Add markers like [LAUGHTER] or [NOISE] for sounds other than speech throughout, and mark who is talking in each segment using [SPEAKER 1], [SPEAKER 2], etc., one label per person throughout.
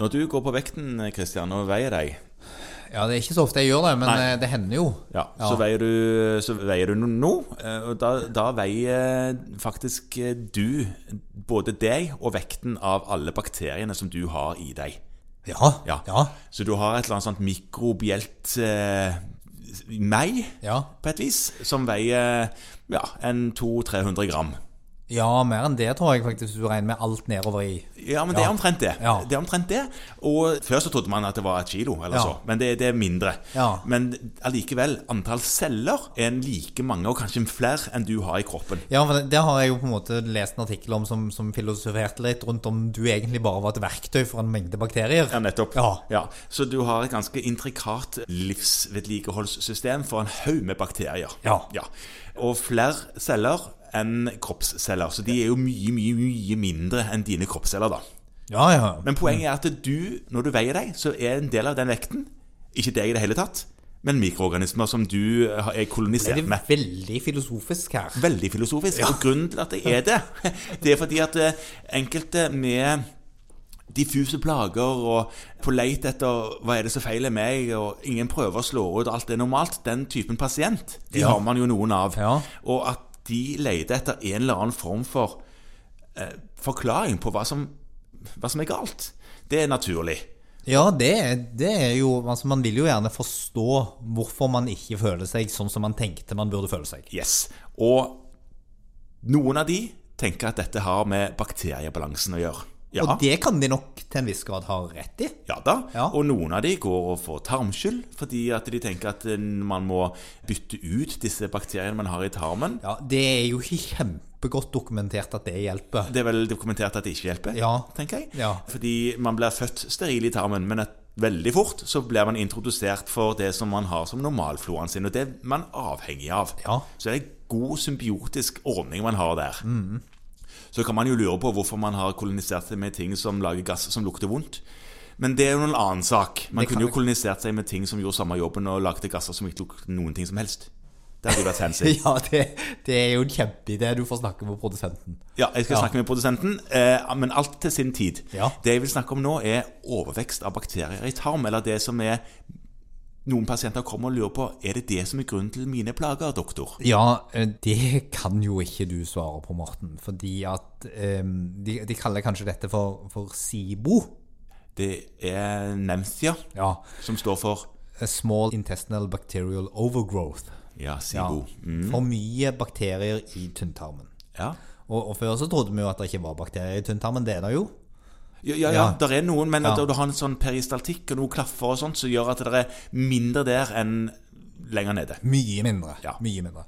[SPEAKER 1] Når du går på vekten, Kristian, og veier deg,
[SPEAKER 2] Ja, det er ikke så ofte jeg gjør det, men
[SPEAKER 1] Nei.
[SPEAKER 2] eh, det hender jo.
[SPEAKER 1] ja, Så, veier du, så veier du no- nå, eh, og da, da veier faktisk eh, du både deg og vekten av alle bakteriene som du har i deg.
[SPEAKER 2] Ja.
[SPEAKER 1] Ja.
[SPEAKER 2] Ja.
[SPEAKER 1] Så du har et eller annet sånt mikrobielt eh, meg,
[SPEAKER 2] Ja.
[SPEAKER 1] på et vis, som veier ja, en 200-300 gram.
[SPEAKER 2] ja, mer enn det tror jeg faktisk du regner med alt nedover i.
[SPEAKER 1] Ja, men det er
[SPEAKER 2] Ja.
[SPEAKER 1] omtrent det.
[SPEAKER 2] Ja.
[SPEAKER 1] Det er omtrent det. Og før så trodde man at det var et kilo, eller
[SPEAKER 2] Ja.
[SPEAKER 1] så. Men det, det er mindre.
[SPEAKER 2] Ja.
[SPEAKER 1] Men allikevel, antall celler er en like mange, og kanskje flere, enn du har i kroppen.
[SPEAKER 2] Ja, for det, det har jeg jo på en måte lest en artikkel om som, som filosoferte litt rundt om du egentlig bare var et verktøy for en mengde bakterier.
[SPEAKER 1] Ja, nettopp.
[SPEAKER 2] Ja.
[SPEAKER 1] Så du har et ganske intrikat livsvedlikeholdssystem for en haug med bakterier.
[SPEAKER 2] Ja.
[SPEAKER 1] Og flere celler enn kroppsceller. Så de er jo mye, mye, mye mindre enn dine kroppsceller, da.
[SPEAKER 2] Ja, ja.
[SPEAKER 1] Men
[SPEAKER 2] Mm.
[SPEAKER 1] poenget er at du, når du veier deg, så er en del av den vekten ikke deg i det hele tatt, men mikroorganismer som du eh, har- er
[SPEAKER 2] Det
[SPEAKER 1] kolonisert
[SPEAKER 2] er
[SPEAKER 1] med.
[SPEAKER 2] veldig filosofisk her.
[SPEAKER 1] Veldig filosofisk. Og grunnen til at jeg er det, [LAUGHS] det er fordi at eh, enkelte med diffuse plager og på leit etter hva er det som feiler meg, og ingen prøver å slå ut alt er normalt, den typen pasient, de
[SPEAKER 2] Ja.
[SPEAKER 1] har man jo noen av.
[SPEAKER 2] Ja.
[SPEAKER 1] Og at de leter etter en eller annen form for eh, forklaring på hva som, hva som er galt. Det er naturlig.
[SPEAKER 2] Ja, det, det er jo Altså, man vil jo gjerne forstå hvorfor man ikke føler seg sånn som man tenkte man burde føle seg.
[SPEAKER 1] Yes. Og noen av de tenker at dette har med bakteriebalansen å gjøre. Ja,
[SPEAKER 2] Og det kan de nok til en viss grad ha rett i.
[SPEAKER 1] ja da.
[SPEAKER 2] Ja.
[SPEAKER 1] Og noen av de går og får tarmskyld fordi at de tenker at eh, man må bytte ut disse bakteriene man har i tarmen.
[SPEAKER 2] Ja, Det er jo ikke kjempegodt dokumentert at det hjelper.
[SPEAKER 1] Det er vel dokumentert at det ikke hjelper,
[SPEAKER 2] Ja.
[SPEAKER 1] tenker jeg.
[SPEAKER 2] Ja.
[SPEAKER 1] Fordi man blir født steril i tarmen, men at veldig fort så blir man introdusert for det som man har som normalfloraen sin, og det er man avhengig av.
[SPEAKER 2] Ja.
[SPEAKER 1] Så det er en god symbiotisk ordning man har der.
[SPEAKER 2] Mm.
[SPEAKER 1] Så kan man jo lure på hvorfor man har kolonisert seg med ting som lager gass som lukter vondt. Men det er jo en annen sak. Man
[SPEAKER 2] Det kan
[SPEAKER 1] kunne jo
[SPEAKER 2] jeg-
[SPEAKER 1] kolonisert seg med ting som gjorde samme jobben og lagde gasser som ikke lukte noen ting som helst. Det hadde jo vært
[SPEAKER 2] [LAUGHS]
[SPEAKER 1] fancy.
[SPEAKER 2] Ja, det, det er jo en kjempeidé. Du får snakke med produsenten.
[SPEAKER 1] Ja, jeg skal
[SPEAKER 2] Ja.
[SPEAKER 1] snakke med produsenten, eh, men alt til sin tid.
[SPEAKER 2] Ja.
[SPEAKER 1] Det jeg vil snakke om nå, er overvekst av bakterier i tarm. Eller det som er Noen pasienter kommer og lurer på er det det som er grunnen til mine plager, doktor.
[SPEAKER 2] Ja, eh, det kan jo ikke du svare på, Morten. Fordi at eh, de, de kaller kanskje dette for, for SIBO.
[SPEAKER 1] Det er Nemthia,
[SPEAKER 2] Ja.
[SPEAKER 1] som står for
[SPEAKER 2] Small Intestinal Bacterial Overgrowth.
[SPEAKER 1] Ja,
[SPEAKER 2] Ja.
[SPEAKER 1] SIBO. Ja.
[SPEAKER 2] For mye bakterier i tynntarmen.
[SPEAKER 1] Ja.
[SPEAKER 2] Og, og før så trodde vi jo at det ikke var bakterier i tynntarmen. Det er det jo.
[SPEAKER 1] Ja, ja,
[SPEAKER 2] Ja.
[SPEAKER 1] der er noen, men
[SPEAKER 2] Ja.
[SPEAKER 1] at du har en sånn peristaltikk og noen klaffer og sånt, som gjør at det er mindre der enn lenger nede.
[SPEAKER 2] Mye mindre.
[SPEAKER 1] Ja.
[SPEAKER 2] Mye mindre.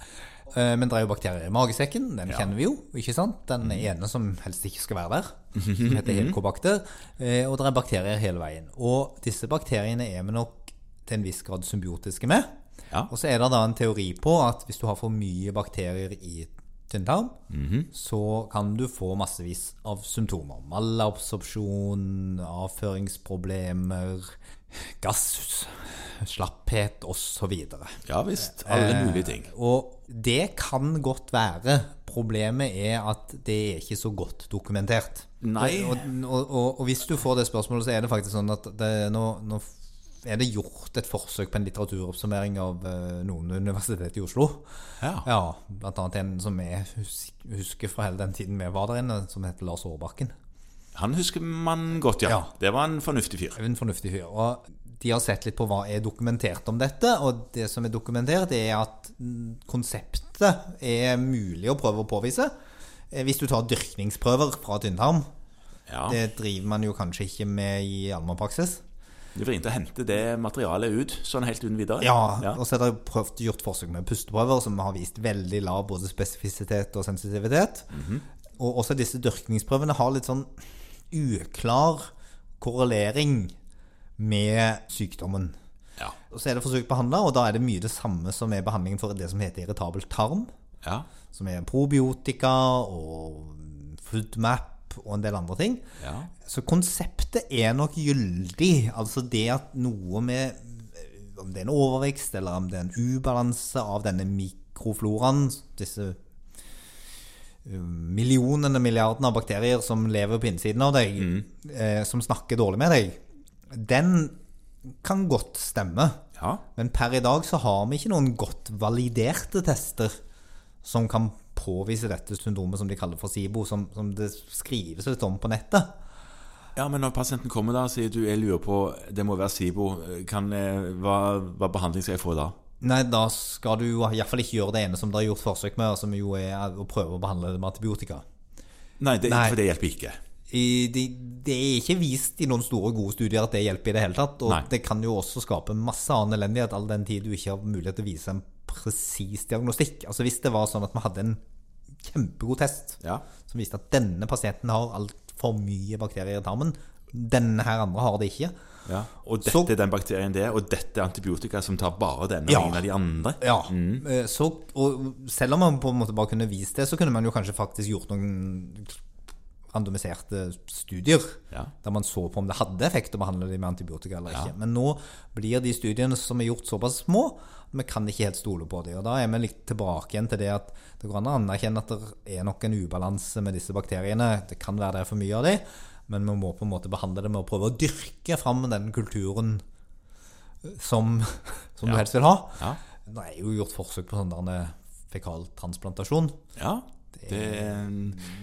[SPEAKER 2] Eh, Men det er jo bakterier i magesekken, den kjenner vi jo. ikke sant? Den
[SPEAKER 1] Mhm.
[SPEAKER 2] ene som helst ikke skal være der, som heter helkobakter. Eh, Og det er bakterier hele veien. Og disse bakteriene er vi nok til en viss grad symbiotiske med.
[SPEAKER 1] Ja.
[SPEAKER 2] Og så er det da en teori på at hvis du har for mye bakterier i tynntarm,
[SPEAKER 1] Mhm.
[SPEAKER 2] så kan du få massevis av symptomer. Malabsorpsjon, avføringsproblemer, gass, slapphet osv.
[SPEAKER 1] Ja visst.
[SPEAKER 2] Eh.
[SPEAKER 1] Alle mulige ting.
[SPEAKER 2] Og det kan godt være. Problemet er at det er ikke så godt dokumentert.
[SPEAKER 1] Nei.
[SPEAKER 2] Og, og, og, og hvis du får det spørsmålet, så er det faktisk sånn at det, nå, nå er det gjort et forsøk på en litteraturoppsummering av eh, noen universitet i Oslo.
[SPEAKER 1] Ja.
[SPEAKER 2] Ja, blant annet en som jeg hus- husker fra hele den tiden vi var der inne, som heter Lars Aarbakken.
[SPEAKER 1] Han husker man godt, ja.
[SPEAKER 2] Ja.
[SPEAKER 1] Det var en fornuftig fyr.
[SPEAKER 2] En fornuftig fyr. Og de har sett litt på hva er dokumentert om dette, og det som er dokumentert, er at mm, konseptet er mulig å prøve å påvise. Eh, Hvis du tar dyrkningsprøver fra tynntarm,
[SPEAKER 1] Ja.
[SPEAKER 2] det driver man jo kanskje ikke med i allmennpraksis.
[SPEAKER 1] Det er vrient å hente det materialet ut sånn helt uten videre.
[SPEAKER 2] Ja, altså. og så er det prøvd, gjort forsøk med pusteprøver som har vist veldig lav både spesifisitet og sensitivitet. Og også disse dyrkningsprøvene har litt sånn uklar korrelering med sykdommen.
[SPEAKER 1] Ja.
[SPEAKER 2] Og så er det forsøkt behandla, og da er det mye det samme som er behandlingen for det som heter irritabel tarm.
[SPEAKER 1] Ja.
[SPEAKER 2] Som er probiotika og foodmap og en del andre ting.
[SPEAKER 1] Ja.
[SPEAKER 2] Så konseptet er nok gyldig. Altså det at noe med Om det er en overvekst, eller om det er en ubalanse av denne mikrofloraen, disse eh, millionene, milliardene av bakterier som lever på innsiden av deg, eh, som snakker dårlig med deg, Den kan godt stemme.
[SPEAKER 1] Ja.
[SPEAKER 2] Men per i dag så har vi ikke noen godt validerte tester som kan påvise dette syndromet som de kaller for SIBO, som, som det skrives litt om på nettet.
[SPEAKER 1] Ja, men når pasienten kommer da og sier du, jeg lurer på, det må være SIBO, kan, eh, hva, hva behandling skal jeg få da?
[SPEAKER 2] Nei, da skal du iallfall ikke gjøre det ene som det er gjort forsøk med, og som jo er å prøve å behandle det med antibiotika.
[SPEAKER 1] Nei, det,
[SPEAKER 2] Nei.
[SPEAKER 1] for det hjelper ikke.
[SPEAKER 2] I, de, det er ikke vist i noen store, gode studier at det hjelper i det hele tatt. Og
[SPEAKER 1] Nei.
[SPEAKER 2] det kan jo også skape masse annen elendighet all den tid du ikke har mulighet til å vise en presis diagnostikk. Altså Hvis det var sånn at vi hadde en kjempegod test
[SPEAKER 1] Ja.
[SPEAKER 2] som viste at denne pasienten har altfor mye bakterier i tarmen, denne her andre har det ikke
[SPEAKER 1] Ja. Og dette
[SPEAKER 2] Så-
[SPEAKER 1] er den bakterien det, og dette er antibiotika som tar bare denne
[SPEAKER 2] Ja.
[SPEAKER 1] og ingen av de andre.
[SPEAKER 2] Ja,
[SPEAKER 1] Mm.
[SPEAKER 2] eh, så, og selv om man på en måte bare kunne vist det, så kunne man jo kanskje faktisk gjort noen randomiserte studier,
[SPEAKER 1] Ja.
[SPEAKER 2] der man så på om det hadde effekt å behandle de med antibiotika eller ikke. Men nå blir de studiene som er gjort såpass små, at vi kan ikke helt stole på dem. Og da er vi litt tilbake igjen til det at det går an å anerkjenne at det er nok en ubalanse med disse bakteriene. Det kan være det er for mye av dem, men vi må på en måte behandle det med å prøve å dyrke fram den kulturen som, som du helst vil ha.
[SPEAKER 1] Ja.
[SPEAKER 2] Det er jo gjort forsøk på sånn der fekaltransplantasjon.
[SPEAKER 1] Ja. Det er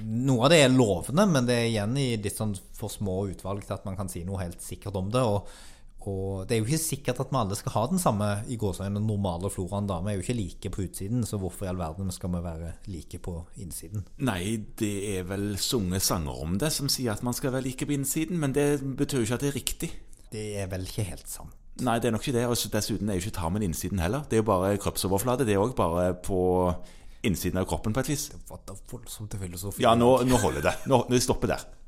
[SPEAKER 2] Noe av det er lovende, men det er igjen i litt sånn for små utvalg til at man kan si noe helt sikkert om det. Og, og det er jo ikke sikkert at vi alle skal ha den samme i gåseøynene normale floraen. da. Vi er jo ikke like på utsiden, så hvorfor i all verden skal vi være like på innsiden?
[SPEAKER 1] Nei, det er vel sunget sanger om det som sier at man skal være like på innsiden, men det betyr jo ikke at det er riktig.
[SPEAKER 2] Det er vel ikke helt sant.
[SPEAKER 1] Nei, det er nok ikke det. Og så dessuten er jo ikke tarmen innsiden heller. Det er jo bare kroppsoverflate. Det er òg bare på innsiden av kroppen, på et vis.
[SPEAKER 2] Hva da voldsomt filosofi.
[SPEAKER 1] Ja, nå, nå holder det. Nå, nå stopper der.